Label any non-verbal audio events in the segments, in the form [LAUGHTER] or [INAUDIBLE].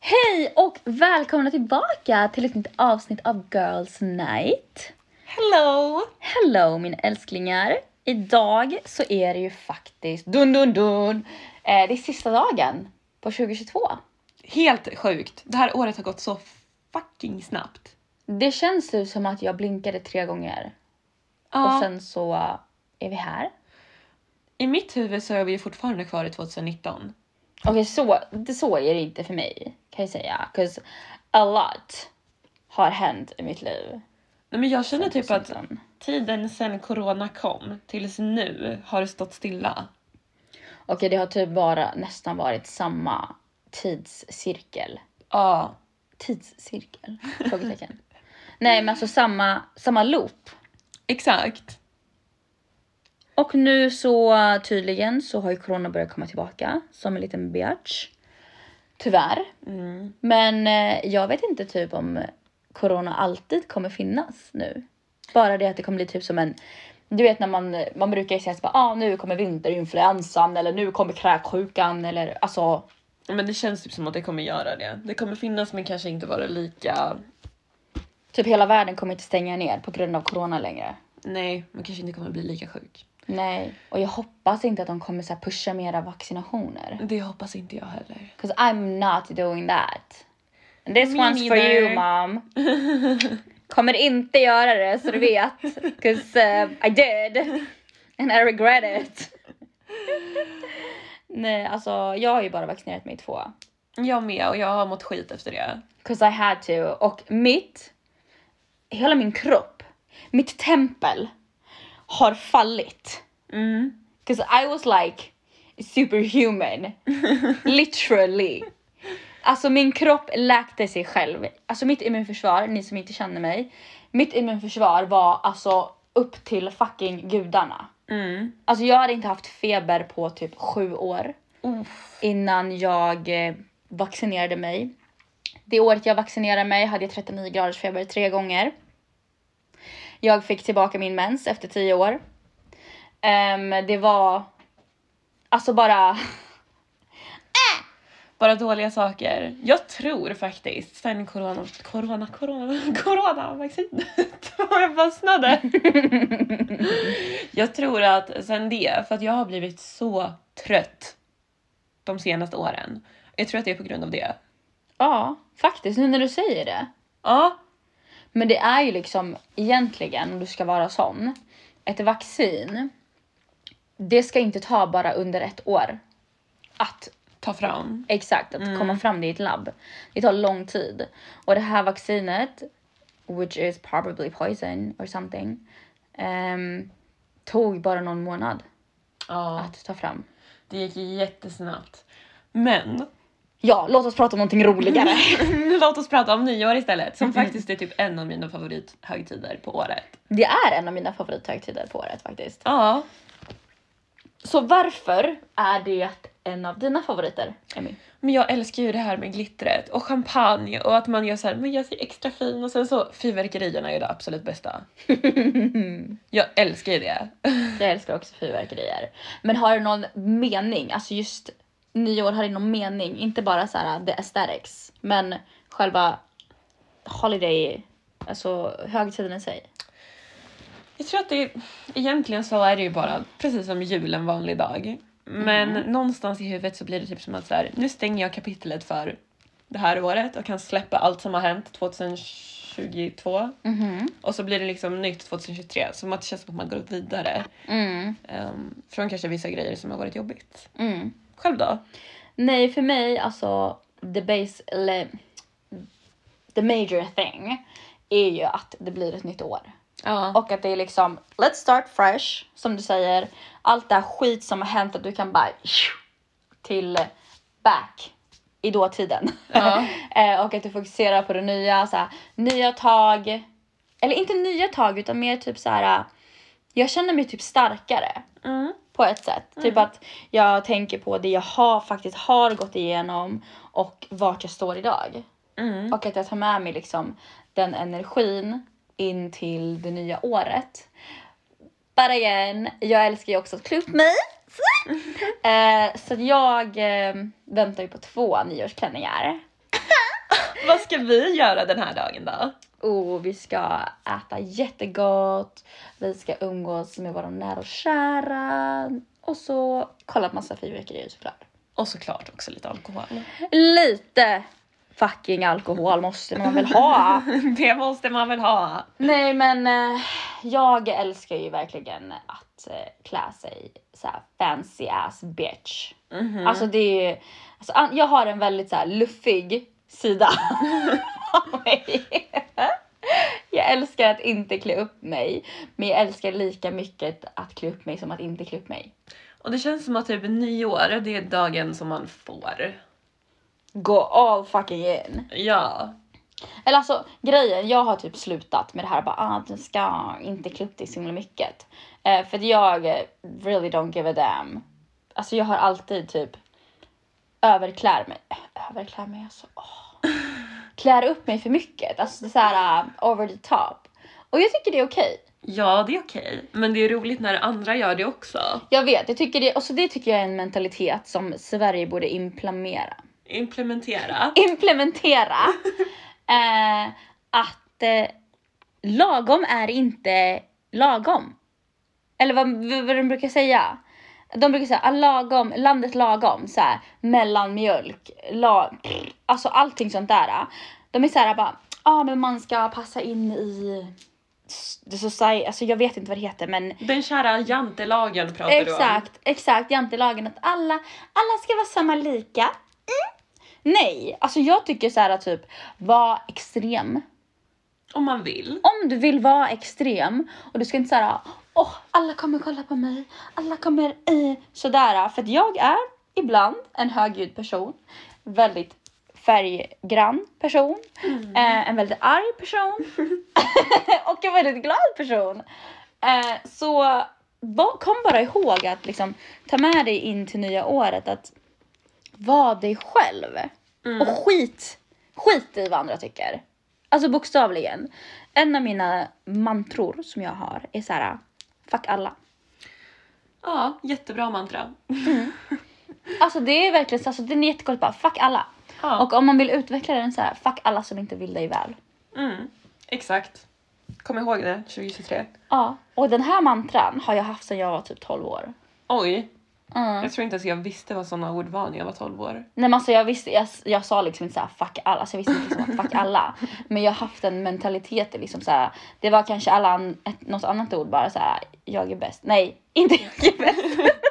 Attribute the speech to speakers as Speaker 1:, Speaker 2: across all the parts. Speaker 1: Hej och välkomna tillbaka till ett nytt avsnitt av Girls Night.
Speaker 2: Hello!
Speaker 1: Hello mina älsklingar! Idag så är det ju faktiskt dun dun dun! Eh, det är sista dagen på 2022.
Speaker 2: Helt sjukt. Det här året har gått så fucking snabbt.
Speaker 1: Det känns ju som att jag blinkade tre gånger och sen så är vi här.
Speaker 2: I mitt huvud så är vi ju fortfarande kvar i 2019.
Speaker 1: Okej, så, det- så är det inte för mig kan jag säga. 'Cause a lot har hänt i mitt liv.
Speaker 2: Nej, men jag känner typ att
Speaker 1: Sen-
Speaker 2: tiden sen corona kom tills nu har det stått stilla.
Speaker 1: Okej, det har typ bara nästan varit samma tidscirkel.
Speaker 2: Ja.
Speaker 1: Tidscirkel? Frågetecken. Nej, men alltså samma, samma loop.
Speaker 2: Exakt.
Speaker 1: Och nu så eh, tydligen så har ju corona börjat komma tillbaka som en liten biatch. Tyvärr.
Speaker 2: Mm.
Speaker 1: Men eh, jag vet inte typ om corona alltid kommer finnas nu. Bara det att det kommer bli typ som en du vet när man, man brukar ju säga att ah, nu kommer vinterinfluensan eller nu kommer kräksjukan eller alltså
Speaker 2: Men det känns typ som att det kommer göra det. Det kommer finnas men kanske inte vara lika...
Speaker 1: Typ hela världen kommer inte stänga ner på grund av corona längre.
Speaker 2: Nej, man kanske inte kommer bli lika sjuk.
Speaker 1: Nej, och jag hoppas inte att de kommer så här pusha mera vaccinationer.
Speaker 2: Det hoppas inte jag heller.
Speaker 1: Cause I'm not doing that. And this
Speaker 2: Me
Speaker 1: one's for you
Speaker 2: neither. [LAUGHS]
Speaker 1: mom. Kommer inte göra det så du vet. Cause eh, I did. And I regret it. [LAUGHS] Nej, alltså jag har ju bara vaccinerat mig två.
Speaker 2: Jag med och jag har mått skit efter det.
Speaker 1: Cause I had to. Och mitt, hela min kropp, mitt tempel har fallit.
Speaker 2: Mm.
Speaker 1: Because I was like superhuman. Literally. Alltså min kropp läkte sig själv. Alltså mitt immunförsvar, ni som inte känner mig. Mitt immunförsvar var alltså upp till fucking gudarna.
Speaker 2: Mm.
Speaker 1: Alltså jag hade inte haft feber på typ sju år
Speaker 2: Uff.
Speaker 1: innan jag eh, vaccinerade mig. Det året jag vaccinerade mig hade jag 39 graders feber tre gånger. Jag fick tillbaka min mens efter 10 år. Ehm, det var alltså bara [LAUGHS]
Speaker 2: Bara dåliga saker. Jag tror faktiskt sen corona, corona, corona, [LAUGHS] corona vaccinet [LAUGHS] jag fastnade. jag tror att sen det, för att jag har blivit så trött de senaste åren. Jag tror att det är på grund av det.
Speaker 1: ja, faktiskt nu när du säger det.
Speaker 2: Ja,
Speaker 1: Men det är ju liksom egentligen, om du ska vara sån, ett vaccin. Det ska inte ta bara under ett år att
Speaker 2: ta fram.
Speaker 1: Exakt, att komma fram det i ett labb. Det tar lång tid. Och det här vaccinet, which is probably poison or something, ehm, tog bara någon månad
Speaker 2: Ja,
Speaker 1: att ta fram.
Speaker 2: det gick jättesnabbt. Men [LAUGHS]
Speaker 1: Ja, låt oss prata om någonting roligare.
Speaker 2: låt oss prata om nyår istället, [LAUGHS] som faktiskt är typ en av mina favorithögtider på året.
Speaker 1: det är en av mina favorithögtider på året faktiskt.
Speaker 2: Ja,
Speaker 1: Så varför är det en av dina favoriter, Emmy?
Speaker 2: Men jag älskar ju det här med glittret och champagne och att man gör så här, men jag ser extra fin och sen så fyrverkerierna är ju det absolut bästa. jag älskar ju det.
Speaker 1: Jag älskar också fyrverkerier. Men har det någon mening? Alltså just nyår, har det någon mening? Inte bara så här the aesthetics, men själva holiday, alltså högtiden i sig.
Speaker 2: Jag tror att det är, egentligen så är det ju bara precis som jul en vanlig dag. Men någonstans i huvudet så blir det typ som att så här, nu stänger jag kapitlet för det här året och kan släppa allt som har hänt 2022
Speaker 1: Mm-hmm.
Speaker 2: och så blir det liksom nytt 2023 som att det känns som att man går vidare
Speaker 1: Mm,
Speaker 2: ehm, från kanske vissa grejer som har varit jobbigt.
Speaker 1: mm.
Speaker 2: Själv då?
Speaker 1: Nej, för mig alltså the base, eller the major thing är ju att det blir ett nytt år.
Speaker 2: Ja.
Speaker 1: Och att det är liksom let's start fresh som du säger. Allt det här skit som har hänt att du kan bara till back i dåtiden.
Speaker 2: Ja.
Speaker 1: [LAUGHS] Eh, och att du fokuserar på det nya, så här, nya tag. Eller inte nya tag utan mer typ så här. Jag känner mig typ starkare
Speaker 2: Mm.
Speaker 1: på ett sätt. Typ att jag tänker på det jag har, faktiskt har gått igenom och vart jag står idag.
Speaker 2: Mm.
Speaker 1: Och att jag tar med mig liksom den energin in till det nya året. But again, jag älskar ju också att klä upp mig. eh, så att jag eh, väntar ju på två nyårsklänningar.
Speaker 2: Vad ska vi göra den här dagen då?
Speaker 1: Oh, vi ska äta jättegott, vi ska umgås med våra nära och kära och så kolla på massa fyrverkerier såklart.
Speaker 2: Och såklart också lite alkohol.
Speaker 1: Lite fucking alkohol måste man väl ha?
Speaker 2: [LAUGHS] Det måste man väl ha?
Speaker 1: Nej men eh, jag älskar ju verkligen att eh, klä sig såhär fancy ass bitch.
Speaker 2: Mhm.
Speaker 1: Alltså det är ju, alltså, an- jag har en väldigt såhär luffig sida av mig. Jag älskar att inte klä upp mig, men jag älskar lika mycket att klä upp mig som att inte klä upp mig.
Speaker 2: Och det känns som att typ nyår, det är dagen som man får.
Speaker 1: Go all fucking in.
Speaker 2: Ja.
Speaker 1: Eller alltså grejen, jag har typ slutat med det här bara ah, du ska inte klä upp dig så himla mycket. Eh, för att jag eh, really don't give a damn. Alltså jag har alltid typ överklär mig. Äh, Överklär mig alltså. åh. Klär upp mig för mycket. Alltså det är så här eh, over the top. Och jag tycker det är okej.
Speaker 2: Ja, det är okej. Men det är roligt när andra gör det också.
Speaker 1: Jag vet, jag tycker det, och så det tycker jag är en mentalitet som Sverige borde implementera.
Speaker 2: Implementera.
Speaker 1: implementera eh, att eh, lagom är inte lagom. Eller vad, vad, vad de brukar säga. De brukar säga ah, lagom, landet lagom, så här, mellanmjölk, la, pff, alltså allting sånt där. eh. De är så här bara, ja ah, men man ska passa in i s- the society, alltså jag vet inte vad det heter men
Speaker 2: Den kära jantelagen pratar du om.
Speaker 1: Exakt, exakt. Jantelagen att alla, alla ska vara samma lika. Mm. Nej, alltså jag tycker så här att typ var extrem.
Speaker 2: Om man vill.
Speaker 1: Om du vill vara extrem och du ska inte säga åh, alla kommer kolla på mig, alla kommer eh, sådär. För att jag är ibland en högljudd person, väldigt färggrann person, eh, en väldigt arg person och en väldigt glad person. Eh, så va- kom bara ihåg att liksom, ta med dig in till nya året att vara dig själv. Och skit, skit i vad andra tycker. Alltså bokstavligen. En av mina mantror som jag har är så här, fuck alla.
Speaker 2: Ja, jättebra mantra.
Speaker 1: Alltså det är verkligen så, alltså, den är jättekort bara, fuck alla.
Speaker 2: Ja.
Speaker 1: Och om man vill utveckla den så här, fuck alla som inte vill dig väl.
Speaker 2: Mm, exakt. Kom ihåg det 2023.
Speaker 1: Ja, och den här mantran har jag haft sedan jag var typ 12 år.
Speaker 2: Oj,
Speaker 1: Mm.
Speaker 2: jag tror inte ens jag visste vad sådana ord var när jag var 12 år.
Speaker 1: Nej men alltså jag visste, jag, jag sa liksom inte såhär fuck alla, alltså jag visste inte liksom att fuck
Speaker 2: [LAUGHS]
Speaker 1: alla. Men jag har haft en mentalitet liksom såhär, det var kanske alla, an, ett, något annat ord bara såhär, jag är bäst. Nej, [LAUGHS] inte jag är bäst. [LAUGHS]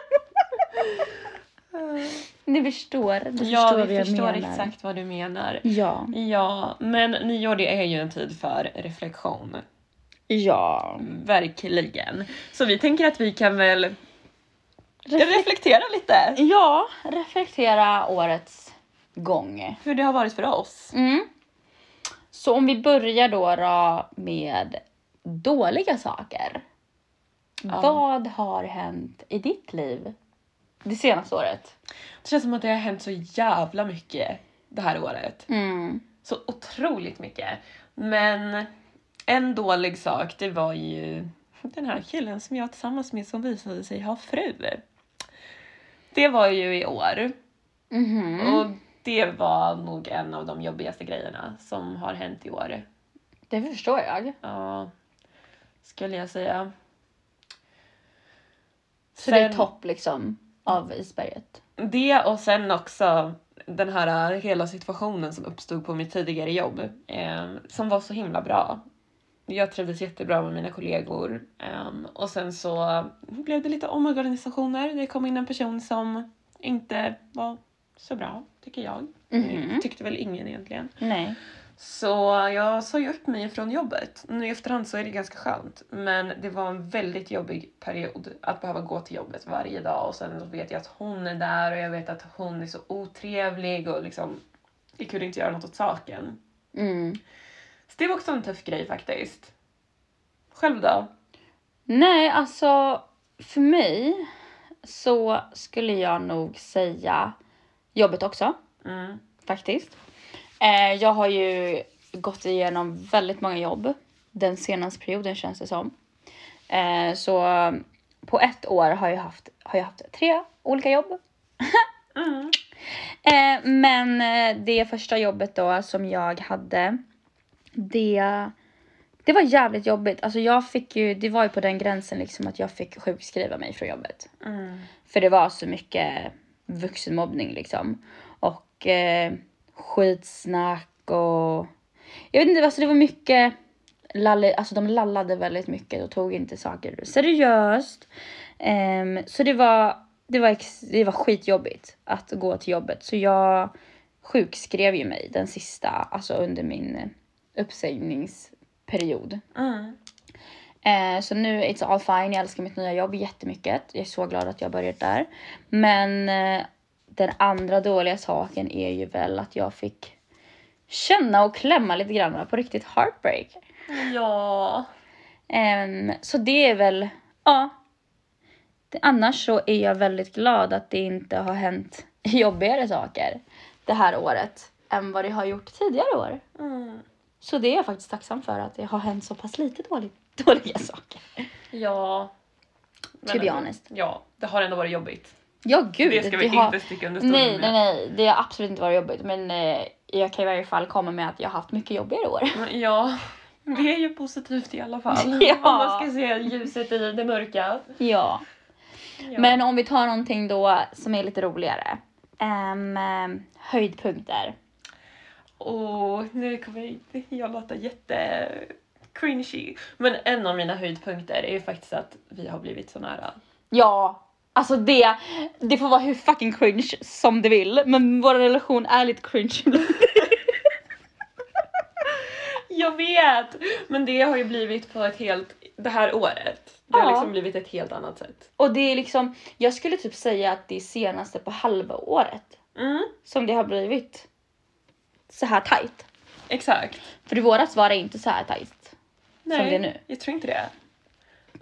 Speaker 2: Mm.
Speaker 1: Ni förstår, du
Speaker 2: Ja,
Speaker 1: förstår vad
Speaker 2: vi
Speaker 1: jag
Speaker 2: förstår
Speaker 1: menar. Mm.
Speaker 2: exakt vad du menar.
Speaker 1: Ja,
Speaker 2: Ja, men nyår det är ju en tid för reflektion.
Speaker 1: ja.
Speaker 2: Verkligen. Så vi tänker att vi kan väl reflektera
Speaker 1: Mm.
Speaker 2: lite.
Speaker 1: Ja, reflektera årets gång.
Speaker 2: Hur det har varit för oss.
Speaker 1: Mm. Så om vi börjar då, då med dåliga saker.
Speaker 2: Ja.
Speaker 1: Vad har hänt i ditt liv det senaste året?
Speaker 2: Det känns som att det har hänt så jävla mycket det här året.
Speaker 1: Mm.
Speaker 2: så otroligt mycket. Men en dålig sak, det var ju den här killen som jag var tillsammans med som visade sig ha fru. Det var ju i år.
Speaker 1: Mhm.
Speaker 2: Och det var nog en av de jobbigaste grejerna som har hänt i år.
Speaker 1: Det förstår jag.
Speaker 2: Ja, skulle jag säga.
Speaker 1: Så det är
Speaker 2: Sen-
Speaker 1: topp liksom av isberget.
Speaker 2: Det och sen också den här hela situationen som uppstod på mitt tidigare jobb eh, som var så himla bra. Jag trivdes jättebra med mina kollegor eh, och sen så blev det lite omorganisationer. Det kom in en person som inte var så bra, tycker jag.
Speaker 1: Mhm.
Speaker 2: Tyckte väl ingen egentligen.
Speaker 1: Nej.
Speaker 2: Så jag sa ju upp mig från jobbet. Nu i efterhand så är det ganska skönt. Men det var en väldigt jobbig period att behöva gå till jobbet varje dag och sen så vet jag att hon är där och jag vet att hon är så otrevlig och liksom, jag kunde inte göra något åt saken.
Speaker 1: Mm.
Speaker 2: Så det var också en tuff grej faktiskt. Själv då?
Speaker 1: Nej, alltså för mig så skulle jag nog säga jobbet också.
Speaker 2: Mm.
Speaker 1: faktiskt. Eh, jag har ju gått igenom väldigt många jobb den senaste perioden känns det som. Eh, så på ett år har jag haft, har jag haft tre olika jobb.
Speaker 2: Mm.
Speaker 1: Eh, men eh, det första jobbet då som jag hade, det, det var jävligt jobbigt. Alltså jag fick ju, det var ju på den gränsen liksom att jag fick sjukskriva mig från jobbet.
Speaker 2: Mm.
Speaker 1: För det var så mycket vuxenmobbning liksom. Och eh, skitsnack och... Jag vet inte, alltså det var mycket... Lalle, alltså de lallade väldigt mycket och tog inte saker seriöst. Ehm, så det var, det, var ex, det var skitjobbigt att gå till jobbet. Så jag sjukskrev ju mig den sista, alltså under min uppsägningsperiod.
Speaker 2: Mm.
Speaker 1: Eh, så nu it's all fine. Jag älskar mitt nya jobb jättemycket. Jag är så glad att jag börjat där. Men eh, den andra dåliga saken är ju väl att jag fick känna och klämma lite grann på riktigt heartbreak.
Speaker 2: Ja.
Speaker 1: Ehm, så det är väl, ja. Det, annars så är jag väldigt glad att det inte har hänt [LAUGHS] jobbigare saker det här året än vad det har gjort tidigare år.
Speaker 2: Mm.
Speaker 1: Så det är jag faktiskt tacksam för att det har hänt så pass lite dålig, [LAUGHS] dåliga saker.
Speaker 2: Ja. Men
Speaker 1: To be
Speaker 2: ändå-
Speaker 1: honest.
Speaker 2: Ja, det har ändå varit jobbigt.
Speaker 1: Ja gud.
Speaker 2: det ska vi
Speaker 1: har-
Speaker 2: inte sticka under stol
Speaker 1: Nej,
Speaker 2: med.
Speaker 1: nej, nej. Det har absolut inte varit jobbigt. Men eh, jag kan i varje fall komma med att jag har haft mycket jobbigare
Speaker 2: [LAUGHS]
Speaker 1: år.
Speaker 2: Men Ja, det är ju positivt i alla fall.
Speaker 1: [LAUGHS] Ja.
Speaker 2: Om man ska se ljuset i det mörka.
Speaker 1: Ja.
Speaker 2: Ja.
Speaker 1: Men om vi tar någonting då som är lite roligare. Ehm, ehm, höjdpunkter.
Speaker 2: Åh, nu kommer jag låta jätte cringy. Men en av mina höjdpunkter är ju faktiskt att vi har blivit så nära.
Speaker 1: Ja, alltså det, det får vara hur fucking cringe som det vill. Men vår relation är lite cringe ibland. [LAUGHS]
Speaker 2: Jag vet! Men det har ju blivit på ett helt... Det här året. Det
Speaker 1: Ja.
Speaker 2: har liksom blivit ett helt annat sätt.
Speaker 1: Och det är liksom, jag skulle typ säga att det är senaste på halva året
Speaker 2: Mm,
Speaker 1: som det har blivit så här tajt.
Speaker 2: exakt.
Speaker 1: För i våras var det inte så här tajt.
Speaker 2: Nej,
Speaker 1: det är nu.
Speaker 2: jag tror inte det.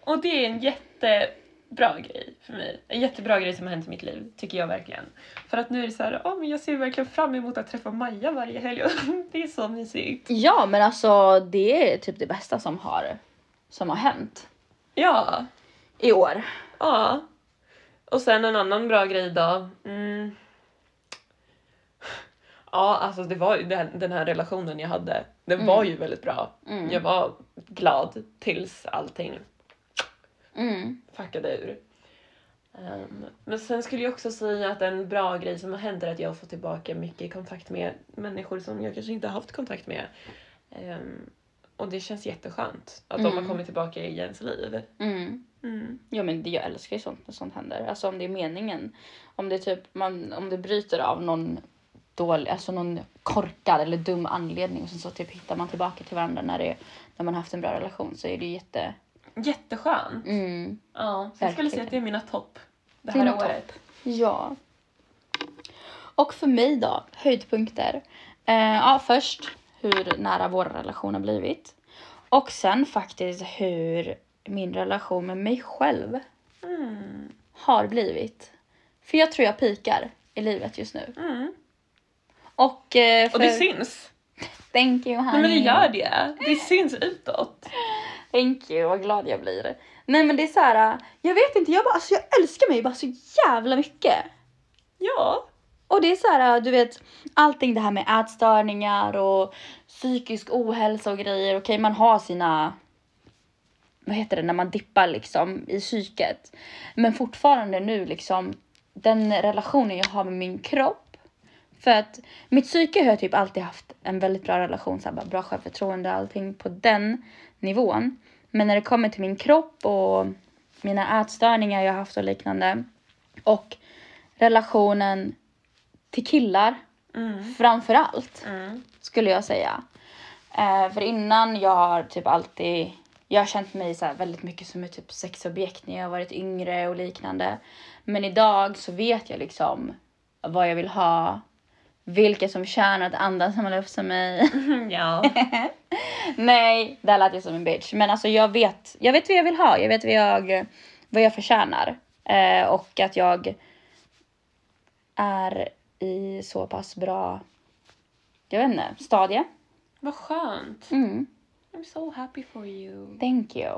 Speaker 2: Och det är en jättebra grej för mig. En jättebra grej som har hänt i mitt liv, tycker jag verkligen. För att nu är det så här, "Åh, men jag ser verkligen fram emot att träffa Maja varje helg. [LAUGHS] Det är så mysigt.
Speaker 1: Ja, men alltså det är typ det bästa som har, som har hänt
Speaker 2: Ja,
Speaker 1: i år.
Speaker 2: ja. Och sen en annan bra grej då. Mm. Ja, alltså det var ju den, den här relationen jag hade. Den var ju väldigt bra.
Speaker 1: Mm.
Speaker 2: Jag var glad tills allting
Speaker 1: Mm.
Speaker 2: packade ur. Ehm, men sen skulle jag också säga att en bra grej som har hänt är att jag har fått tillbaka mycket kontakt med människor som jag kanske inte har haft kontakt med. Ehm, och det känns jätteskönt att de
Speaker 1: Mm.
Speaker 2: har kommit tillbaka i ens liv.
Speaker 1: Mm.
Speaker 2: Mm.
Speaker 1: Ja, men det, jag älskar ju sånt när sånt händer. Alltså om det är meningen. Om det, typ, man, om det bryter av någon dålig, alltså någon korkad eller dum anledning och sen så typ hittar man tillbaka till varandra när, det, när man har haft en bra relation så är det ju jätte...
Speaker 2: Jätteskönt!
Speaker 1: Mm.
Speaker 2: Ja, så jag skulle
Speaker 1: Verkligen.
Speaker 2: säga att det är mina topp det
Speaker 1: Dina
Speaker 2: här
Speaker 1: topp.
Speaker 2: året.
Speaker 1: Ja. Och för mig då, höjdpunkter. Eh, ja, först hur nära vår relation har blivit. Och sen faktiskt hur min relation med mig själv
Speaker 2: Mm.
Speaker 1: har blivit. För jag tror jag pikar i livet just nu.
Speaker 2: Mm.
Speaker 1: Och, eh, för,
Speaker 2: Och det syns!
Speaker 1: Thank you honey.
Speaker 2: Nej men det gör det! Det syns utåt.
Speaker 1: Thank you, vad glad jag blir. Nej men det är så här, eh, jag vet inte, jag, bara, alltså, jag älskar mig bara så jävla mycket.
Speaker 2: Ja.
Speaker 1: Och det är så här, äh, du vet, allting det här med ätstörningar och psykisk ohälsa och grejer. Okej, man har sina, vad heter det, när man dippar liksom i psyket. Men fortfarande nu liksom, den relationen jag har med min kropp. För att mitt psyke har jag typ alltid haft en väldigt bra relation, så här, bara bra självförtroende och allting på den nivån. Men när det kommer till min kropp och mina ätstörningar jag har haft och liknande och relationen till killar
Speaker 2: Mm.
Speaker 1: framför allt
Speaker 2: Mm.
Speaker 1: skulle jag säga. Eh, för innan jag har typ alltid, jag har känt mig så här väldigt mycket som ett typ sexobjekt när jag har varit yngre och liknande. Men idag så vet jag liksom vad jag vill ha, vilka som tjänar att andas samma luft som mig.
Speaker 2: [LAUGHS]
Speaker 1: [LAUGHS]
Speaker 2: Ja.
Speaker 1: Nej, där lät jag som en bitch. Men alltså jag vet, jag vet vad jag vill ha. Jag vet vad jag, vad jag förtjänar. Eh, och att jag är i så pass bra, jag vet inte, stadie.
Speaker 2: Vad skönt.
Speaker 1: Mm,
Speaker 2: I'm so happy for you.
Speaker 1: thank you.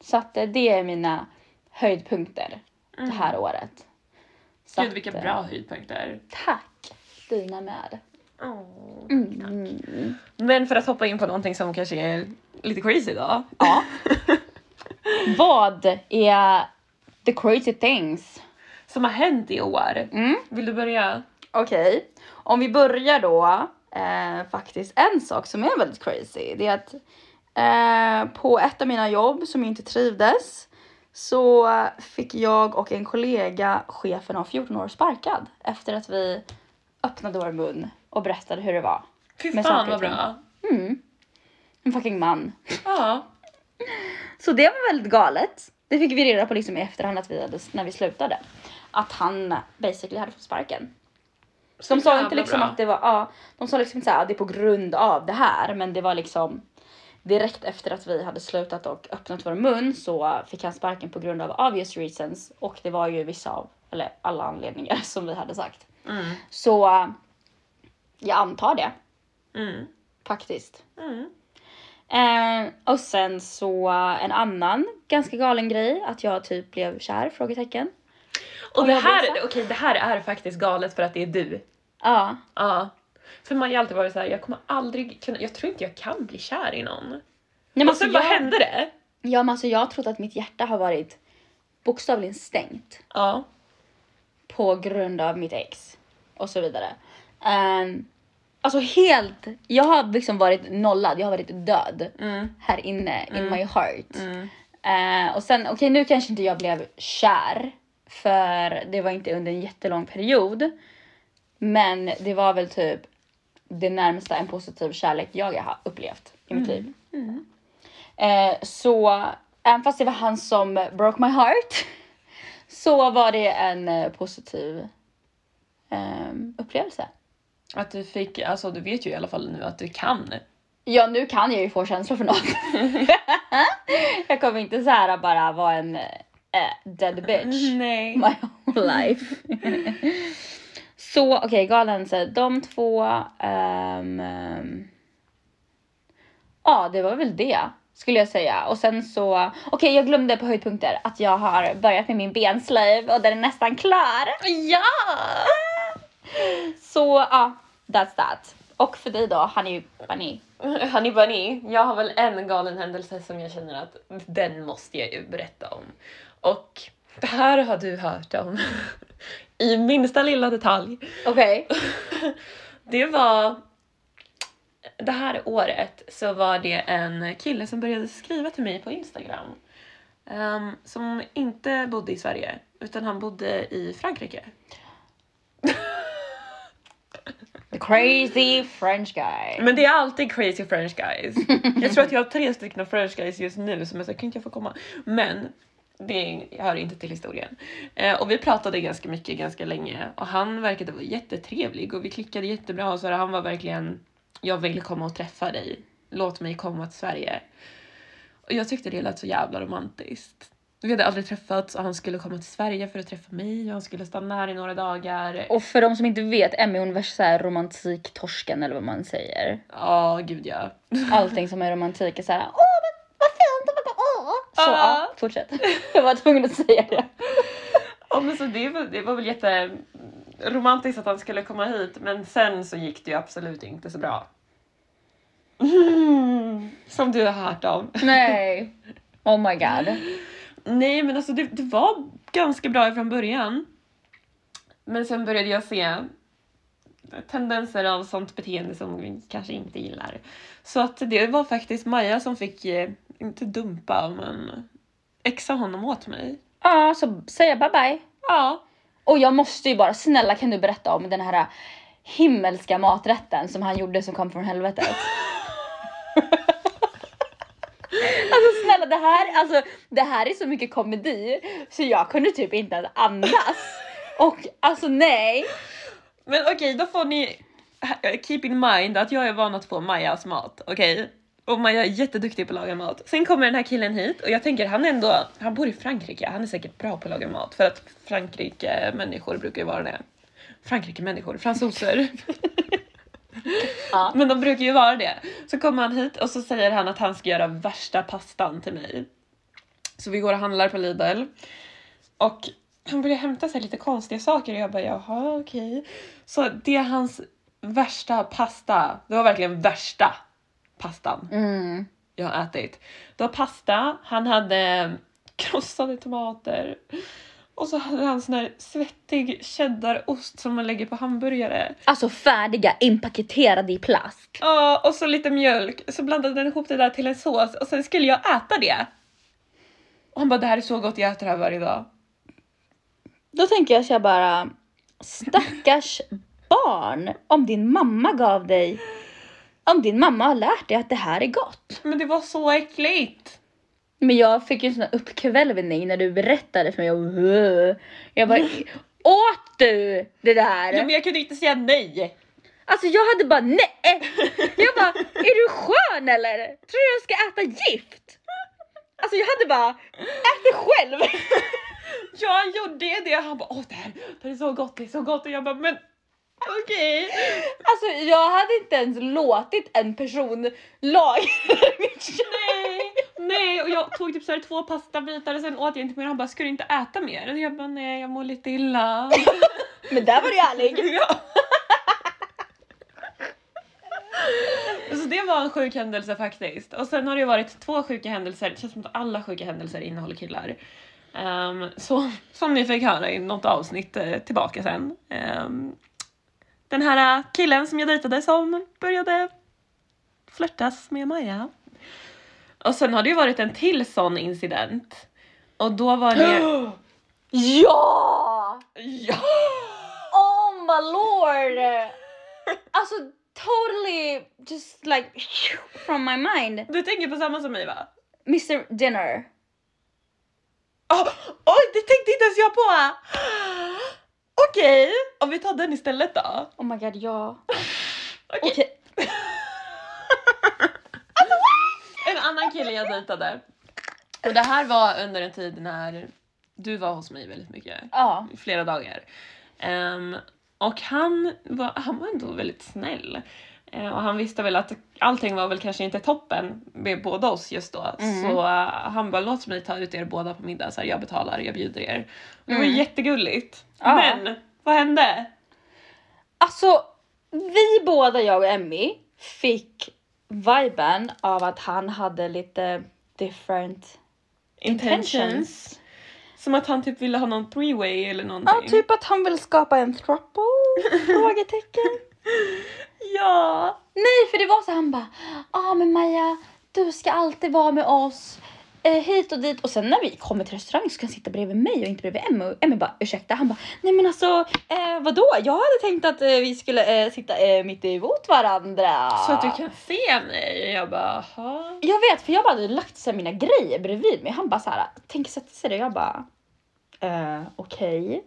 Speaker 1: Så att eh, det är mina höjdpunkter det här året. Så
Speaker 2: Mm. Gud vilka
Speaker 1: att, eh,
Speaker 2: bra höjdpunkter.
Speaker 1: Tack! Dina med.
Speaker 2: Åh.
Speaker 1: Mm.
Speaker 2: Men för att hoppa in på någonting som kanske är lite crazy då.
Speaker 1: Ja. Vad är the crazy things?
Speaker 2: [LAUGHS] Som har hänt i år.
Speaker 1: Mm.
Speaker 2: Vill du börja?
Speaker 1: Okej, om vi börjar då eh, faktiskt en sak som är väldigt crazy. Det är att eh, på ett av mina jobb som jag inte trivdes så fick jag och en kollega chefen av 14 år sparkad efter att vi öppnade vår mun och berättade hur det var.
Speaker 2: Fy
Speaker 1: Med
Speaker 2: fan
Speaker 1: saker
Speaker 2: vad
Speaker 1: och ting.
Speaker 2: bra.
Speaker 1: Mm. En fucking man.
Speaker 2: Ja.
Speaker 1: Så det var väldigt galet. Det fick vi reda på liksom i efterhand att vi hade, när vi slutade. Att han basically hade fått sparken.
Speaker 2: Så
Speaker 1: De sa
Speaker 2: jävla
Speaker 1: inte liksom
Speaker 2: bra.
Speaker 1: att det var, ja, de sa liksom inte såhär, "Ah, det är på grund av det här, men det var liksom direkt efter att vi hade slutat och öppnat vår mun så fick han sparken på grund av obvious reasons och det var ju vissa av, eller alla anledningar [LAUGHS] som vi hade sagt.
Speaker 2: Mm.
Speaker 1: Så eh, jag antar det
Speaker 2: Mm.
Speaker 1: faktiskt.
Speaker 2: Mm.
Speaker 1: Eh, och sen så eh, en annan ganska galen grej, att jag typ blev kär? Frågetecken.
Speaker 2: Och det
Speaker 1: jag
Speaker 2: här,
Speaker 1: visa?
Speaker 2: okej det här är faktiskt galet för att det är du.
Speaker 1: Ja,
Speaker 2: Ja. För man har ju alltid varit såhär, jag kommer aldrig kunna, jag tror inte jag kan bli kär i någon.
Speaker 1: Nej, men
Speaker 2: Och
Speaker 1: alltså,
Speaker 2: sen bara
Speaker 1: jag,
Speaker 2: hände det.
Speaker 1: ja, men alltså, jag har trott att mitt hjärta har varit bokstavligen stängt.
Speaker 2: Ja.
Speaker 1: på grund av mitt ex och så vidare. Ehm, alltså helt, jag har liksom varit nollad, jag har varit död
Speaker 2: Mm.
Speaker 1: här inne in my heart.
Speaker 2: Mm.
Speaker 1: Ehm, och sen, okej nu kanske inte jag blev kär för det var inte under en jättelång period. Men det var väl typ det närmsta en positiv kärlek jag har upplevt i
Speaker 2: Mm.
Speaker 1: mitt liv. Eh, så även fast det var han som broke my heart [LAUGHS] så var det en eh, positiv ehm, upplevelse.
Speaker 2: Att du fick, alltså du vet ju i alla fall nu att du kan.
Speaker 1: Ja, nu kan jag ju få känslor för något. jag kommer inte så här bara vara en eh, dead bitch
Speaker 2: Nej.
Speaker 1: my whole life. så okej, galen händelser. De två. ehm, ehm, ja, det var väl det skulle jag säga. Och sen så, okej jag glömde på höjdpunkter att jag har börjat med min benslöjv och den är nästan klar.
Speaker 2: [LAUGHS] Ja!
Speaker 1: Så ja, that's that. Och för dig då, han är ju bunny.
Speaker 2: [LAUGHS] Honey Bunny, jag har väl en galen händelse som jag känner att den måste jag ju berätta om. Och det här har du hört om [LAUGHS] i minsta lilla detalj. [LAUGHS]
Speaker 1: Okej.
Speaker 2: Det var... Det här året så var det en kille som började skriva till mig på Instagram. ehm, som inte bodde i Sverige, utan han bodde i Frankrike. [LAUGHS]
Speaker 1: The crazy French guy.
Speaker 2: Men det är alltid crazy french guys. Jag tror att jag har tre stycken french guys just nu som jag sa, kan inte jag få komma? Men det hör inte till historien. Eh, och vi pratade ganska mycket, ganska länge och han verkade vara jättetrevlig och vi klickade jättebra och så där. han var verkligen, jag vill komma och träffa dig. Låt mig komma till Sverige. Och jag tyckte det lät så jävla romantiskt. Vi hade aldrig träffats och han skulle komma till Sverige för att träffa mig och han skulle stanna här i några dagar.
Speaker 1: Och för de som inte vet, Emmy hon är värsta så här romantiktorsken eller vad man säger.
Speaker 2: Ja, gud ja.
Speaker 1: allting som är romantik är såhär åh vad, vad fint och vad åh. Så
Speaker 2: Ja.
Speaker 1: ja, fortsätt. [LAUGHS] Jag var tvungen att säga det.
Speaker 2: Ja men så det var, det var väl jätteromantiskt att han skulle komma hit men sen så gick det ju absolut inte så bra. Som du har hört om.
Speaker 1: Nej. Oh my god.
Speaker 2: Nej men alltså det, det var ganska bra från början. Men sen började jag se tendenser av sånt beteende som vi kanske inte gillar. Så att det var faktiskt Maja som fick, eh, inte dumpa men exa honom åt mig.
Speaker 1: Ja, så säger jag bye bye.
Speaker 2: Ja,
Speaker 1: Och jag måste ju bara, snälla kan du berätta om den här himmelska maträtten som han gjorde som kom från helvetet? [LAUGHS] Alltså snälla det här, alltså, det här är så mycket komedi så jag kunde typ inte ens andas. Och alltså nej.
Speaker 2: Men okej, då får ni keep in mind att jag är van att få Majas mat, okej? Och Maja är jätteduktig på att laga mat. Sen kommer den här killen hit och jag tänker han är ändå, han bor i Frankrike, han är säkert bra på att laga mat för att Frankrike-människor brukar ju vara det. Frankrike-människor, fransoser.
Speaker 1: Ja.
Speaker 2: Men de brukar ju vara det. Så kommer han hit och så säger han att han ska göra värsta pastan till mig. Så vi går och handlar på Lidl. Och han började hämta sig lite konstiga saker och jag bara jaha okej. Så det är hans värsta pasta. Det var verkligen värsta pastan
Speaker 1: Mm.
Speaker 2: jag har ätit. Det var pasta, han hade mm, krossade tomater och så hade han sån här svettig cheddarost som man lägger på hamburgare.
Speaker 1: Alltså färdiga, inpaketerade i plast.
Speaker 2: Ja, och så lite mjölk. Så blandade han ihop det där till en sås och sen skulle jag äta det. Och han bara, det här är så gott, jag äter det här varje dag.
Speaker 1: Då tänker jag så jag bara, stackars barn, om din mamma gav dig, om din mamma har lärt dig att det här är gott.
Speaker 2: Men det var så äckligt!
Speaker 1: Men jag fick ju en sån här uppkvälvning när du berättade för mig. Jag, jag bara, [LAUGHS] åt du det där?
Speaker 2: Ja, men jag kunde inte säga nej!
Speaker 1: Alltså jag hade bara nej! Jag bara, är du skön eller? Tror du jag ska äta gift? Alltså jag hade bara, ät det själv! [LAUGHS]
Speaker 2: Jag gjorde det! Han bara, åh det här, det här är så gott, det är så gott! Och jag bara, men okej!
Speaker 1: Alltså jag hade inte ens låtit en person laga [LAUGHS] mitt kött.
Speaker 2: Nej, nej! Och jag tog typ så här två pastabitar och sen åt jag inte mer. Han bara, ska du inte äta mer? Och jag bara, nej jag mår lite illa.
Speaker 1: Men där var du ärlig.
Speaker 2: [LAUGHS] Ja. Så det var en sjuk händelse faktiskt. Och sen har det ju varit två sjuka händelser, det känns som att alla sjuka händelser innehåller killar. Ehm, så, som ni fick höra i något avsnitt eh, tillbaka sen. Ehm, den här eh, killen som jag dejtade som började flörtas med Maja. Och sen har det ju varit en till sån incident. Och då
Speaker 1: [GASPS]
Speaker 2: var det...
Speaker 1: Ja!
Speaker 2: ja!
Speaker 1: Oh my lord! Alltså totally just like from my mind.
Speaker 2: Du tänker på samma som mig va?
Speaker 1: Mr Dinner.
Speaker 2: Åh, Ah, oj, det tänkte inte ens jag på! Okej, om vi tar den istället då.
Speaker 1: Oh my god ja.
Speaker 2: Okej.
Speaker 1: [LAUGHS] Okej.
Speaker 2: En annan kille jag dejtade. Och det här var under en tid när du var hos mig väldigt mycket.
Speaker 1: Ja.
Speaker 2: i Flera dagar. Ehm, och han var, han var ändå väldigt snäll. Eh, och han visste väl att allting var väl kanske inte toppen med båda oss just då.
Speaker 1: Mm.
Speaker 2: Så eh, han bara låt mig ta ut er båda på middag, så här, jag betalar, jag bjuder er. Och det var
Speaker 1: Mm.
Speaker 2: jättegulligt.
Speaker 1: Ja.
Speaker 2: Men vad hände?
Speaker 1: Alltså, vi båda, jag och Emmy, fick viben av att han hade lite different
Speaker 2: intentions.
Speaker 1: intentions.
Speaker 2: Som att han typ ville ha någon three-way eller någonting.
Speaker 1: Ja, typ att han vill skapa en throuple? [LAUGHS] Frågetecken.
Speaker 2: Ja!
Speaker 1: Nej, för det var så han bara, ja ah, men Maja, du ska alltid vara med oss. Eh, hit och dit. Och sen när vi kommer till restaurangen så ska han sitta bredvid mig och inte bredvid Emmy. Och Emmy bara, ursäkta? Han bara, nej men alltså eh, vadå? Jag hade tänkt att eh, vi skulle eh, sitta eh, mitt emot varandra.
Speaker 2: Så att du kan se mig. Jag bara, jaha.
Speaker 1: Jag vet, för jag bara hade lagt så här mina grejer bredvid mig. Han bara så här, tänk sätta sig där. Jag bara, eh, okej.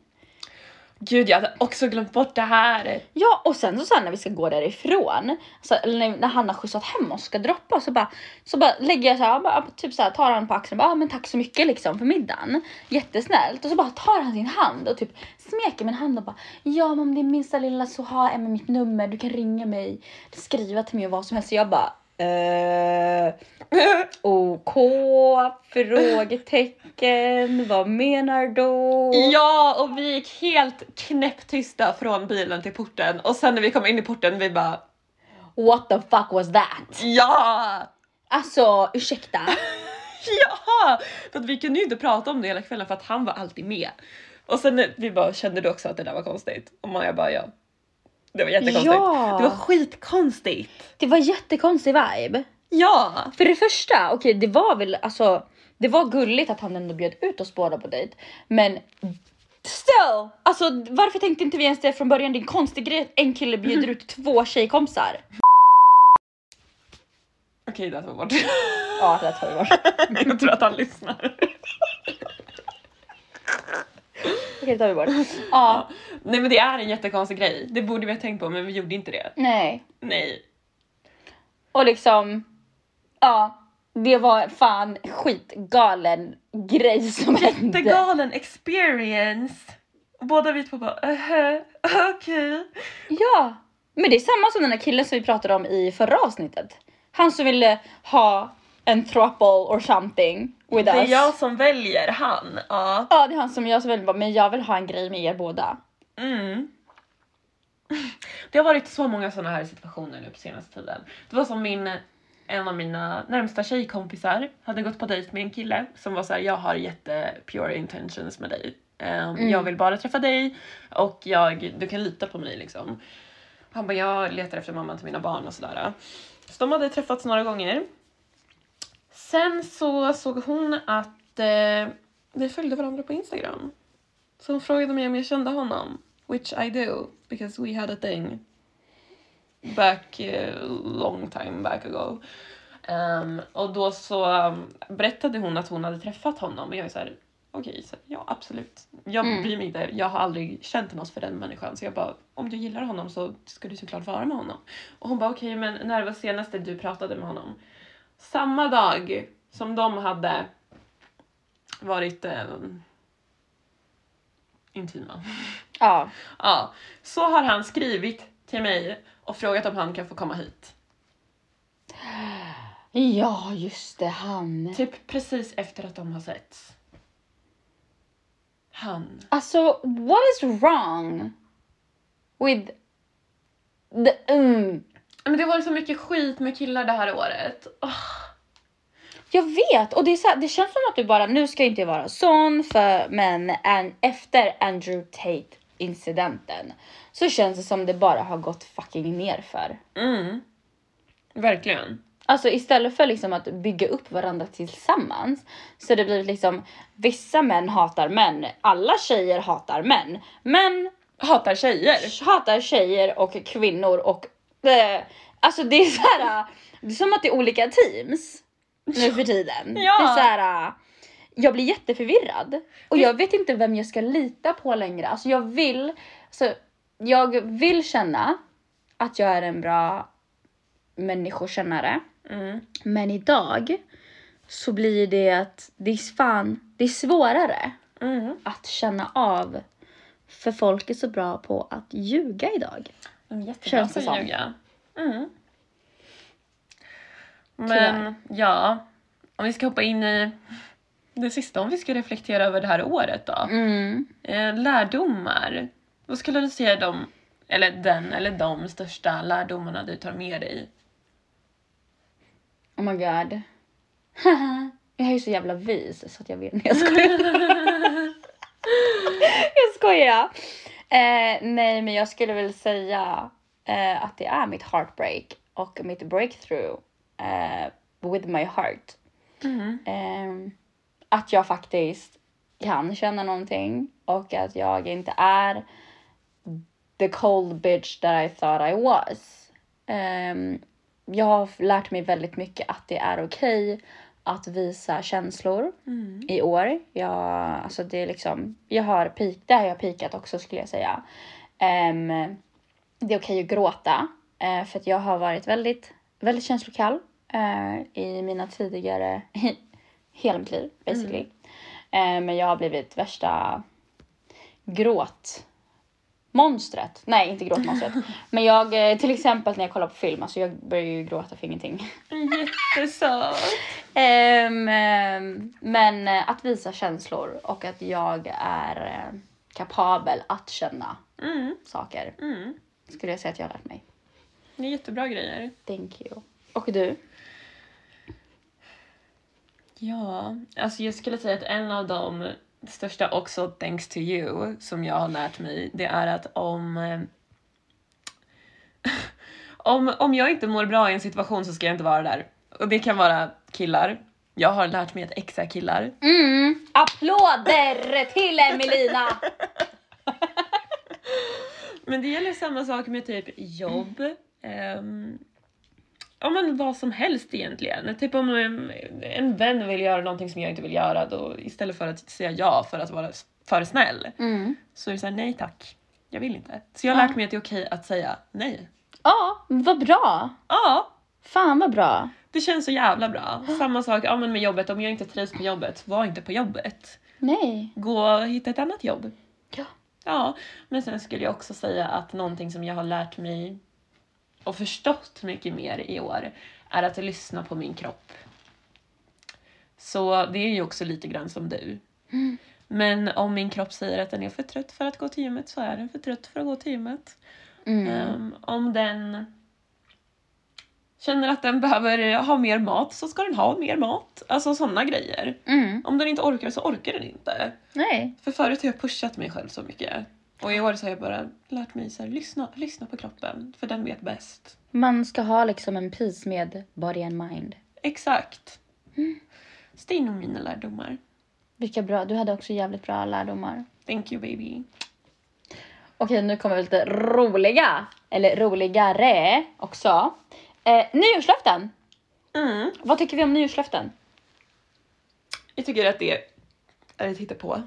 Speaker 2: Gud, jag hade också glömt bort det här.
Speaker 1: Ja, och sen så, så här, när vi ska gå därifrån, så, eller när, när han har skjutsat hem oss och ska droppa oss, så bara, så bara lägger jag så här, bara, typ så här, tar han på axeln och bara, ah, men tack så mycket liksom för middagen. Jättesnällt. Och så bara tar han sin hand och typ smeker min hand och bara, ja men om det är minsta lilla så har Emma mitt nummer, du kan ringa mig, skriva till mig och vad som helst. Så jag bara, eh, [LAUGHS] OK, frågetecken, vad menar du?
Speaker 2: Ja, och vi gick helt knäpptysta från bilen till porten och sen när vi kom in i porten vi bara,
Speaker 1: What the fuck was that?
Speaker 2: ja!
Speaker 1: Alltså, ursäkta.
Speaker 2: Ja! För att vi kunde ju inte prata om det hela kvällen för att han var alltid med. Och sen eh, vi bara, kände du också att det där var konstigt? Och Maja bara, ja. Det var jättekonstigt.
Speaker 1: Ja.
Speaker 2: Det var skitkonstigt.
Speaker 1: Det var jättekonstig vibe.
Speaker 2: Ja!
Speaker 1: För det första, okej det var väl alltså, det var gulligt att han ändå bjöd ut oss båda på dejt. Men still! Alltså varför tänkte inte vi ens det från början? Det är en konstig grej att en kille bjuder [LAUGHS] ut två tjejkompisar.
Speaker 2: Okej, det här var bort. [LAUGHS]
Speaker 1: Ja, det tar vi [LAUGHS] bort. Okej,
Speaker 2: Jag tror att han lyssnar.
Speaker 1: det tar vi bort. Ja,
Speaker 2: Nej men det är en jättekonstig grej. Det borde vi ha tänkt på men vi gjorde inte det.
Speaker 1: nej.
Speaker 2: Nej.
Speaker 1: Och liksom, ja. Det var fan skitgalen grej som hände.
Speaker 2: Jättegalen experience. Och Båda vi två bara uh okej.
Speaker 1: Ja, men det är samma som den där killen som vi pratade om i förra avsnittet. Han som ville ha en throuple or something. with
Speaker 2: Det är
Speaker 1: us.
Speaker 2: jag som väljer han. Ja.
Speaker 1: Ja, det är han som jag som väldigt bara, men jag vill ha en grej med er båda.
Speaker 2: Mm. Det har varit så många sådana här situationer nu på senaste tiden. Det var som min, en av mina närmsta tjejkompisar hade gått på dejt med en kille som var så här: jag har jätte pure intentions med dig. Ehm, Jag vill bara träffa dig och jag, du kan lita på mig liksom. Han bara, jag letar efter mamman till mina barn och sådär. Så de hade träffats några gånger. Sen så såg hon att eh, vi följde varandra på Instagram. Så hon frågade mig om jag kände honom. Which I do, because we had a thing. Back eh, long time back ago. Ehm, och då så um, berättade hon att hon hade träffat honom och jag är såhär, okej, så, ja absolut. Jag
Speaker 1: Mm.
Speaker 2: bryr mig inte, jag har aldrig känt något för den människan. Så jag bara, om du gillar honom så ska du såklart vara med honom. Och hon bara, okej men när var senaste du pratade med honom? Samma dag som de hade varit eh, intima.
Speaker 1: Ja.
Speaker 2: Ja, så har han skrivit till mig och frågat om han kan få komma hit.
Speaker 1: Ja, just det, han.
Speaker 2: Typ precis efter att de har setts. Han.
Speaker 1: Alltså, what is wrong with the... Mm.
Speaker 2: Men det har varit så mycket skit med killar det här året. Åh,
Speaker 1: Jag vet, och det, är så här, det känns som att du bara, nu ska jag inte vara sån, för, men an, efter Andrew Tate incidenten så känns det som det bara har gått fucking nerför.
Speaker 2: Mm. Verkligen.
Speaker 1: Alltså istället för liksom att bygga upp varandra tillsammans så det blir liksom vissa män hatar män, alla tjejer hatar män. Män
Speaker 2: Hatar tjejer.
Speaker 1: hatar tjejer och kvinnor och eh, alltså det är så här. eh, Det är som att det är olika teams nu för tiden.
Speaker 2: Ja.
Speaker 1: Det är så här. eh, Jag blir jätteförvirrad och jag vet inte vem jag ska lita på längre. Alltså jag vill, alltså, jag vill känna att jag är en bra människokännare.
Speaker 2: Mm.
Speaker 1: Men idag så blir det att det är fan, det är svårare
Speaker 2: Mm.
Speaker 1: att känna av. För folk är så bra på att ljuga idag.
Speaker 2: De är jättebra
Speaker 1: Känns
Speaker 2: på
Speaker 1: det
Speaker 2: att
Speaker 1: som.
Speaker 2: ljuga. Mm. Men
Speaker 1: Tyvärr.
Speaker 2: ja, om vi ska hoppa in i det sista, om vi ska reflektera över det här året då.
Speaker 1: Mm.
Speaker 2: Eh, lärdomar. Vad skulle du säga de, eller den eller de största lärdomarna du tar med dig?
Speaker 1: Oh my god. [LAUGHS] Haha. jag är ju så jävla vis så att jag vet. Nej, jag skojar. jag skojar. Eh, nej men jag skulle väl säga eh, att det är mitt heartbreak och mitt breakthrough eh, with my heart. Ehm, att jag faktiskt kan känna någonting och att jag inte är the cold bitch that I thought I was. Ehm, jag har lärt mig väldigt mycket att det är okej att visa känslor i år. Jag, alltså det är liksom, jag har peak, där har jag peakat också skulle jag säga. Ehm, det är okej att gråta eh, för att jag har varit väldigt, väldigt känslokall eh, i mina tidigare, [LAUGHS] hela mitt liv basically. Eh, men jag har blivit värsta gråt monstret. Nej, inte gråtmonstret. [LAUGHS] Men jag, eh, till exempel när jag kollar på film, alltså jag börjar ju gråta för ingenting.
Speaker 2: Jättesöt!
Speaker 1: [LAUGHS] Ehm, ehm, men eh, att visa känslor och att jag är eh, kapabel att känna
Speaker 2: Mm,
Speaker 1: saker
Speaker 2: mm.
Speaker 1: skulle jag säga att jag har lärt mig.
Speaker 2: Det är jättebra grejer.
Speaker 1: Thank you. Och du?
Speaker 2: Ja, alltså jag skulle säga att en av de största också, thanks to you, som jag har lärt mig, det är att om... eh, [LAUGHS] om, om jag inte mår bra i en situation så ska jag inte vara där. Och det kan vara killar. Jag har lärt mig att exa killar.
Speaker 1: Mm, applåder till Emelina!
Speaker 2: Men det gäller samma sak med typ jobb. Um, ja men vad som helst egentligen. Typ om en, en vän vill göra någonting som jag inte vill göra då istället för att säga ja för att vara s- för snäll
Speaker 1: [LAUGHS] Mm.
Speaker 2: så är det såhär nej tack, jag vill inte. Så jag har
Speaker 1: Ja.
Speaker 2: lärt mig att det är okej att säga nej.
Speaker 1: Ja, vad bra!
Speaker 2: Ja,
Speaker 1: Fan vad bra.
Speaker 2: det känns så jävla bra. Samma sak ja, men med jobbet, om jag inte trivs på jobbet, var inte på jobbet.
Speaker 1: Nej.
Speaker 2: Gå och hitta ett annat jobb.
Speaker 1: Ja.
Speaker 2: Ja, men sen skulle jag också säga att någonting som jag har lärt mig och förstått mycket mer i år är att lyssna på min kropp. Så det är ju också lite grann som du. Men om min kropp säger att den är för trött för att gå till gymmet så är den för trött för att gå till gymmet.
Speaker 1: Mm.
Speaker 2: Ehm, om den känner att den behöver ha mer mat så ska den ha mer mat. Alltså sådana grejer.
Speaker 1: Mm.
Speaker 2: Om den inte orkar så orkar den inte.
Speaker 1: Nej.
Speaker 2: För förut har jag pushat mig själv så mycket. Och i år så har jag bara lärt mig så här, lyssna, lyssna på kroppen, för den vet bäst.
Speaker 1: Man ska ha liksom en peace med body and mind.
Speaker 2: Exakt. Mm. Så det är nog mina lärdomar.
Speaker 1: Vilka bra, du hade också jävligt bra lärdomar.
Speaker 2: Thank you baby.
Speaker 1: Okej, nu kommer vi lite roliga. Eller roligare också. Eh, nyårslöften!
Speaker 2: Mm.
Speaker 1: Vad tycker vi om nyårslöften?
Speaker 2: Jag tycker att det är att titta på.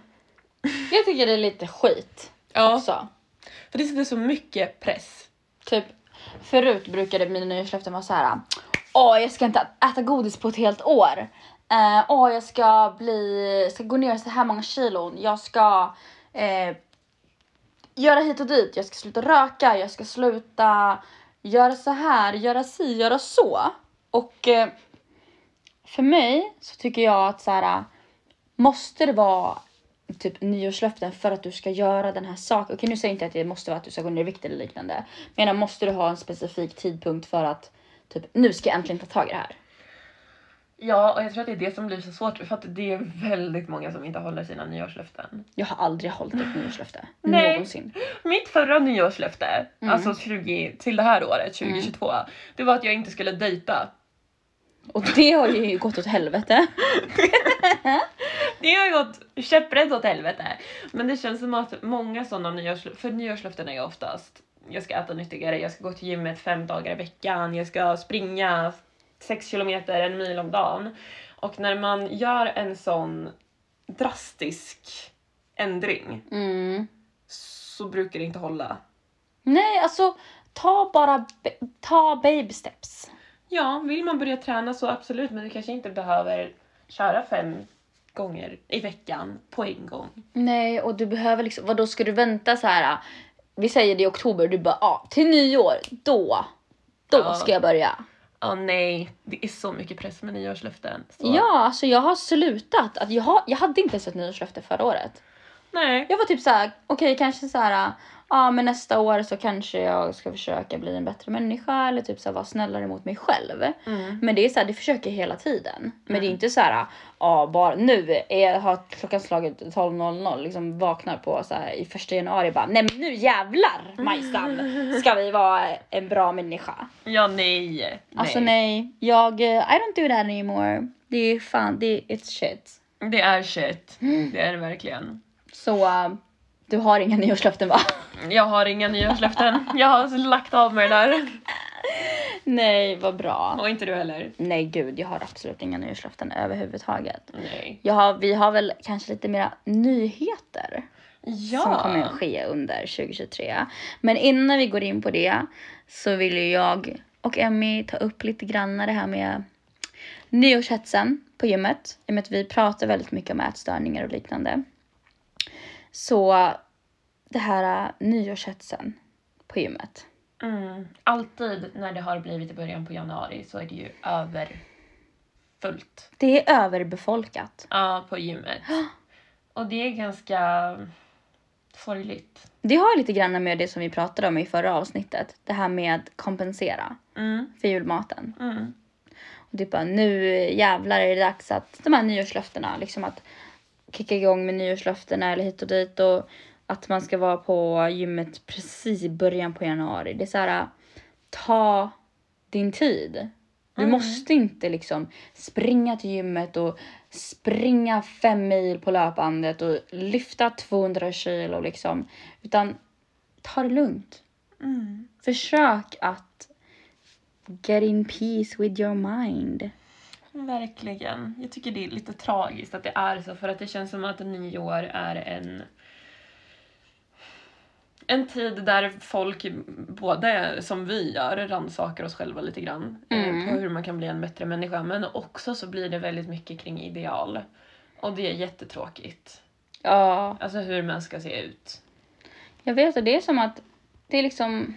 Speaker 1: Jag tycker det är lite skit också.
Speaker 2: För det sitter så mycket press.
Speaker 1: Typ, förut brukade mina nyårslöften vara så här. Åh, jag ska inte äta godis på ett helt år. Eh, åh, jag ska bli, ska gå ner så här många kilon. Jag ska eh, göra hit och dit. Jag ska sluta röka. Jag ska sluta göra så här, göra si, göra så. Och eh, för mig så tycker jag att så här. äh, Måste det vara typ nyårslöften för att du ska göra den här saken? Okej, nu säger jag inte att det måste vara att du ska gå ner i vikt eller liknande. Men jag menar, måste du ha en specifik tidpunkt för att typ nu ska jag äntligen ta tag i det här?
Speaker 2: Ja, och jag tror att det är det som blir så svårt för att det är väldigt många som inte håller sina nyårslöften.
Speaker 1: Jag har aldrig hållit ett nyårslöfte.
Speaker 2: Nej.
Speaker 1: Någonsin.
Speaker 2: Mitt förra nyårslöfte, alltså 20, till det här året, 2022, det var att jag inte skulle dejta.
Speaker 1: Och det har ju gått åt helvete.
Speaker 2: Det har ju gått käpprätt åt helvete. Men det känns som att många sådana nyårslöften, för nyårslöften är ju oftast jag ska äta nyttigare, jag ska gå till gymmet fem dagar i veckan, jag ska springa sex kilometer, en mil om dagen. Och när man gör en sån drastisk ändring
Speaker 1: Mm.
Speaker 2: så brukar det inte hålla.
Speaker 1: Nej, alltså ta bara ba- ta baby steps.
Speaker 2: Ja, vill man börja träna så absolut, men du kanske inte behöver köra fem gånger i veckan på en gång.
Speaker 1: Nej, och du behöver liksom, vadå ska du vänta så här? Vi säger det i oktober, du bara ja, till nyår, då, då
Speaker 2: Ja.
Speaker 1: ska jag börja.
Speaker 2: Ja, nej, det är så mycket press med nyårslöften. Så.
Speaker 1: Ja, alltså jag har slutat. Att jag, har, jag hade inte ens ett nyårslöfte förra året.
Speaker 2: Nej.
Speaker 1: Jag var typ såhär, okej kanske såhär, ja men nästa år så kanske jag ska försöka bli en bättre människa eller typ såhär vara snällare mot mig själv. Men det är såhär, det försöker jag hela tiden. Men det är inte såhär, ja bara nu är, har klockan slagit 12.00, liksom vaknar på såhär i första januari bara, nej men nu jävlar Majsan ska vi vara en bra människa.
Speaker 2: Ja, nej. nej.
Speaker 1: Alltså nej, jag, eh, I don't do that anymore. Det är fan, det är it's shit.
Speaker 2: Det är shit. Det är det verkligen.
Speaker 1: Så eh, du har inga nyårslöften va?
Speaker 2: Jag har inga [LAUGHS] nyårslöften. Jag har lagt av mig det där.
Speaker 1: Nej, vad bra.
Speaker 2: Och inte du heller.
Speaker 1: Nej gud, jag har absolut inga nyårslöften överhuvudtaget.
Speaker 2: Nej.
Speaker 1: Jag har, vi har väl kanske lite mera nyheter
Speaker 2: Ja.
Speaker 1: som kommer att ske under 2023. Men innan vi går in på det så vill ju jag och Emmy ta upp lite grann det här med nyårshetsen på gymmet. I och med att vi pratar väldigt mycket om ätstörningar och liknande. Så det här eh, nyårshetsen på gymmet.
Speaker 2: Mm. Alltid när det har blivit i början på januari så är det ju överfullt
Speaker 1: Det är överbefolkat.
Speaker 2: ja, på gymmet. Och det är ganska sorgligt.
Speaker 1: Det har lite grann med det som vi pratade om i förra avsnittet. Det här med att kompensera
Speaker 2: Mm.
Speaker 1: för julmaten.
Speaker 2: Mm.
Speaker 1: Och typ bara nu jävlar är det dags att de här nyårslöftena, liksom att kicka igång med nyårslöftena eller hit och dit och att man ska vara på gymmet precis i början på januari. Det är så här, ta din tid. Du måste inte liksom springa till gymmet och springa fem mil på löpbandet och lyfta 200 kilo liksom. Utan ta det lugnt.
Speaker 2: Mm.
Speaker 1: Försök att get in peace with your mind.
Speaker 2: Verkligen. Jag tycker det är lite tragiskt att det är så för att det känns som att nyår är en en tid där folk, både som vi gör, rannsakar oss själva lite grann eh,
Speaker 1: Mm.
Speaker 2: på hur man kan bli en bättre människa. Men också så blir det väldigt mycket kring ideal. Och det är jättetråkigt.
Speaker 1: Ja,
Speaker 2: Alltså hur man ska se ut.
Speaker 1: jag vet och det är som att det är liksom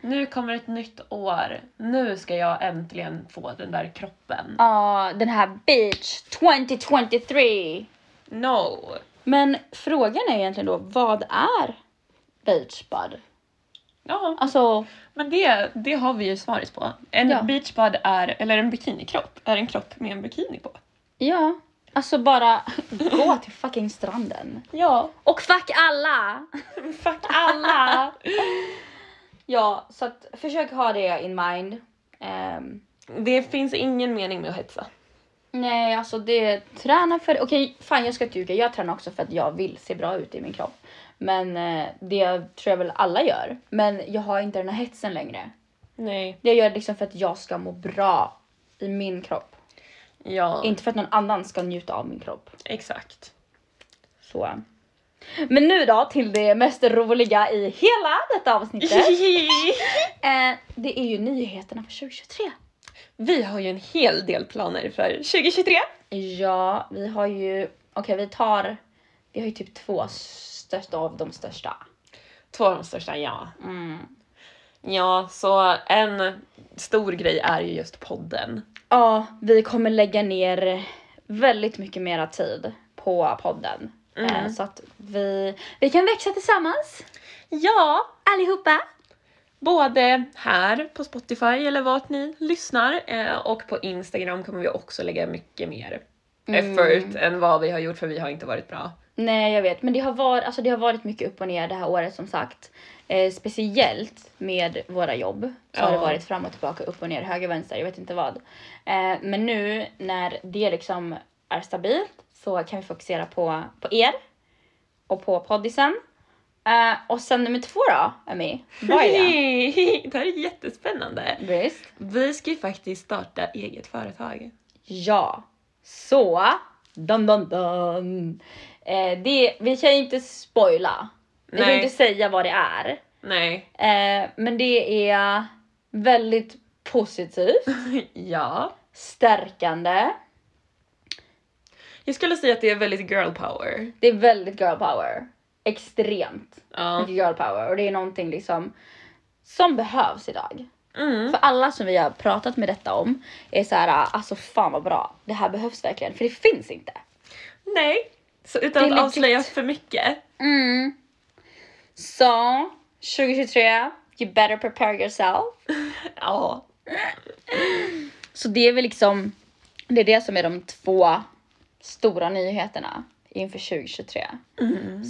Speaker 2: Nu kommer ett nytt år. Nu ska jag äntligen få den där kroppen.
Speaker 1: Ja, den här beach 2023.
Speaker 2: No!
Speaker 1: Men frågan är egentligen då, vad är beachbud?
Speaker 2: Ja,
Speaker 1: Alltså,
Speaker 2: men det, det har vi ju svaret på. En
Speaker 1: Ja.
Speaker 2: beachbud är, eller en bikinikropp, är en kropp med en bikini på.
Speaker 1: ja. Alltså bara [LAUGHS] gå till fucking stranden.
Speaker 2: Ja,
Speaker 1: Och fuck alla!
Speaker 2: fuck alla!
Speaker 1: Ja, så att försök ha det in mind. Ehm,
Speaker 2: [LAUGHS] det finns ingen mening med att hetsa.
Speaker 1: nej, alltså det, träna för Okej, fan jag ska inte ljuga. Jag tränar också för att jag vill se bra ut i min kropp. Men eh, det tror jag väl alla gör. Men jag har inte den här hetsen längre.
Speaker 2: Nej.
Speaker 1: Det jag gör liksom för att jag ska må bra i min kropp.
Speaker 2: Ja,
Speaker 1: Inte för att någon annan ska njuta av min kropp.
Speaker 2: [LAUGHS] exakt.
Speaker 1: Så. Men nu då till det mest roliga i hela detta
Speaker 2: [LAUGHS]
Speaker 1: avsnittet. eh, det är ju nyheterna för 2023.
Speaker 2: vi har ju en hel del planer för 2023.
Speaker 1: Ja, vi har ju, okej vi tar, vi har ju typ två största av de största.
Speaker 2: Två av de största, ja.
Speaker 1: Mm.
Speaker 2: Ja, så en stor grej är ju just podden.
Speaker 1: Ja, vi kommer lägga ner väldigt mycket mera tid på podden. Eh, så att vi, vi kan växa tillsammans
Speaker 2: Ja,
Speaker 1: allihopa.
Speaker 2: både här på Spotify eller vart ni lyssnar eh, och på Instagram kommer vi också lägga mycket mer effort än vad vi har gjort för vi har inte varit bra.
Speaker 1: Nej, jag vet. Men det har, varit, alltså det har varit mycket upp och ner det här året som sagt. Eh, speciellt med våra jobb så har det
Speaker 2: Ja.
Speaker 1: varit fram och tillbaka, upp och ner, höger, vänster, jag vet inte vad. Eh, men nu när det liksom är stabilt så kan vi fokusera på, på er och på poddisen. Eh, och sen nummer två då, Emmy. Vad är
Speaker 2: [LAUGHS]
Speaker 1: det?
Speaker 2: det här är jättespännande.
Speaker 1: Visst?
Speaker 2: Vi ska ju faktiskt starta eget företag.
Speaker 1: Ja. Så, dun dun dun. Eh, det, vi kan ju inte spoila. Vi kan ju
Speaker 2: Nej.
Speaker 1: inte säga vad det är.
Speaker 2: Nej.
Speaker 1: Eh, men det är väldigt positivt,
Speaker 2: [LAUGHS] ja.
Speaker 1: stärkande.
Speaker 2: Jag skulle säga att det är väldigt girl power.
Speaker 1: Det är väldigt girl power. Extremt
Speaker 2: Ja.
Speaker 1: mycket girl power. Och det är någonting liksom som behövs idag.
Speaker 2: Mm.
Speaker 1: För alla som vi har pratat med detta om är så här, alltså fan vad bra. Det här behövs verkligen, för det finns inte.
Speaker 2: Nej. Så utan
Speaker 1: Det är
Speaker 2: att avslöja
Speaker 1: legit.
Speaker 2: för mycket.
Speaker 1: Mm. Så, 2023, you better prepare yourself.
Speaker 2: Ja.
Speaker 1: Så det är väl liksom, det är det som är de två stora nyheterna inför 2023.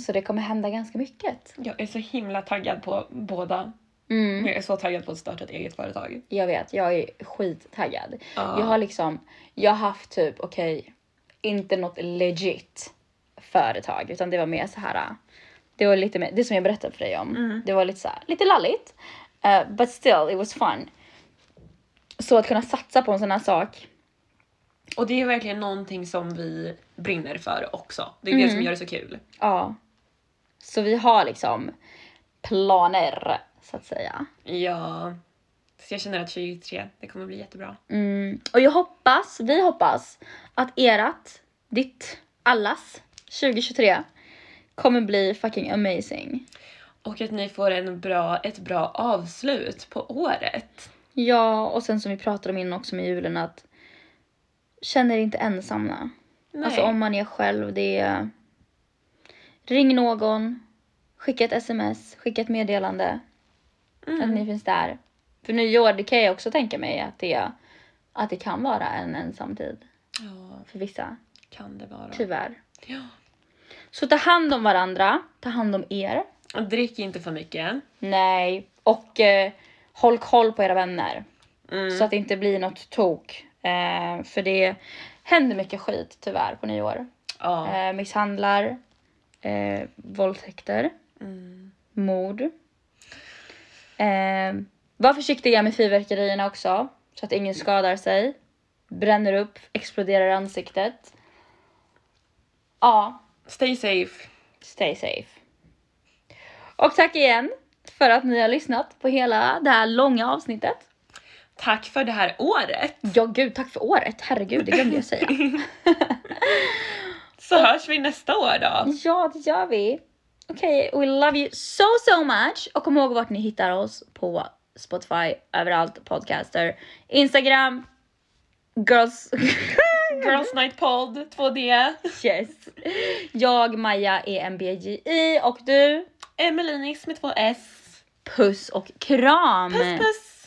Speaker 1: Så det kommer hända ganska mycket.
Speaker 2: Jag är så himla taggad på båda.
Speaker 1: Mm.
Speaker 2: Jag är så taggad på att starta ett eget företag.
Speaker 1: Jag vet, jag är skittaggad.
Speaker 2: Ja.
Speaker 1: Jag har liksom, jag har haft typ, okej, inte något legit företag utan det var mer så här. Det var lite mer, det som jag berättade för dig om. Det var lite så här, lite lalligt. Eh, but still, it was fun. Så att kunna satsa på en sån här sak.
Speaker 2: Och det är verkligen någonting som vi brinner för också. Det är det som gör det så kul.
Speaker 1: Ja. Så vi har liksom planer så att säga.
Speaker 2: Ja. Så jag känner att 2023, det kommer bli jättebra.
Speaker 1: Mm. Och jag hoppas, vi hoppas att erat, ditt, allas 2023 kommer bli fucking amazing.
Speaker 2: Och att ni får en bra, ett bra avslut på året.
Speaker 1: Ja, och sen som vi pratade om innan också med julen att känn er inte ensamma.
Speaker 2: Nej.
Speaker 1: Alltså om man är själv, det är... Ring någon, skicka ett sms, skicka ett meddelande.
Speaker 2: Mm.
Speaker 1: Att ni finns där. För nyår, det kan jag också tänka mig att det, är, att det kan vara en ensam tid
Speaker 2: Ja,
Speaker 1: för vissa.
Speaker 2: kan det vara.
Speaker 1: Tyvärr.
Speaker 2: Ja.
Speaker 1: Så ta hand om varandra, ta hand om er.
Speaker 2: Och drick inte för mycket.
Speaker 1: Nej. Och eh, håll koll på era vänner.
Speaker 2: Mm.
Speaker 1: Så att det inte blir något tok. Eh, för det händer mycket skit tyvärr på nyår.
Speaker 2: Ja.
Speaker 1: Eh, misshandlar, eh, våldtäkter,
Speaker 2: Mm.
Speaker 1: mord. Eh, var försiktiga med fyrverkerierna också. Så att ingen skadar sig. Bränner upp, exploderar i ansiktet. Ja,
Speaker 2: Stay safe.
Speaker 1: stay safe. Och tack igen för att ni har lyssnat på hela det här långa avsnittet.
Speaker 2: Tack för det här året.
Speaker 1: Ja, gud, tack för året. Herregud, det glömde jag säga.
Speaker 2: Så hörs vi nästa år då.
Speaker 1: Ja, det gör vi. Okej, we love you so so much. Och kom ihåg vart ni hittar oss på Spotify, överallt, podcaster, Instagram, girls... [LAUGHS]
Speaker 2: Girls Night Pod 2D.
Speaker 1: yes. Jag, Maja, E är MBGI och du,
Speaker 2: Emelinix med två S.
Speaker 1: puss och kram!
Speaker 2: Puss puss!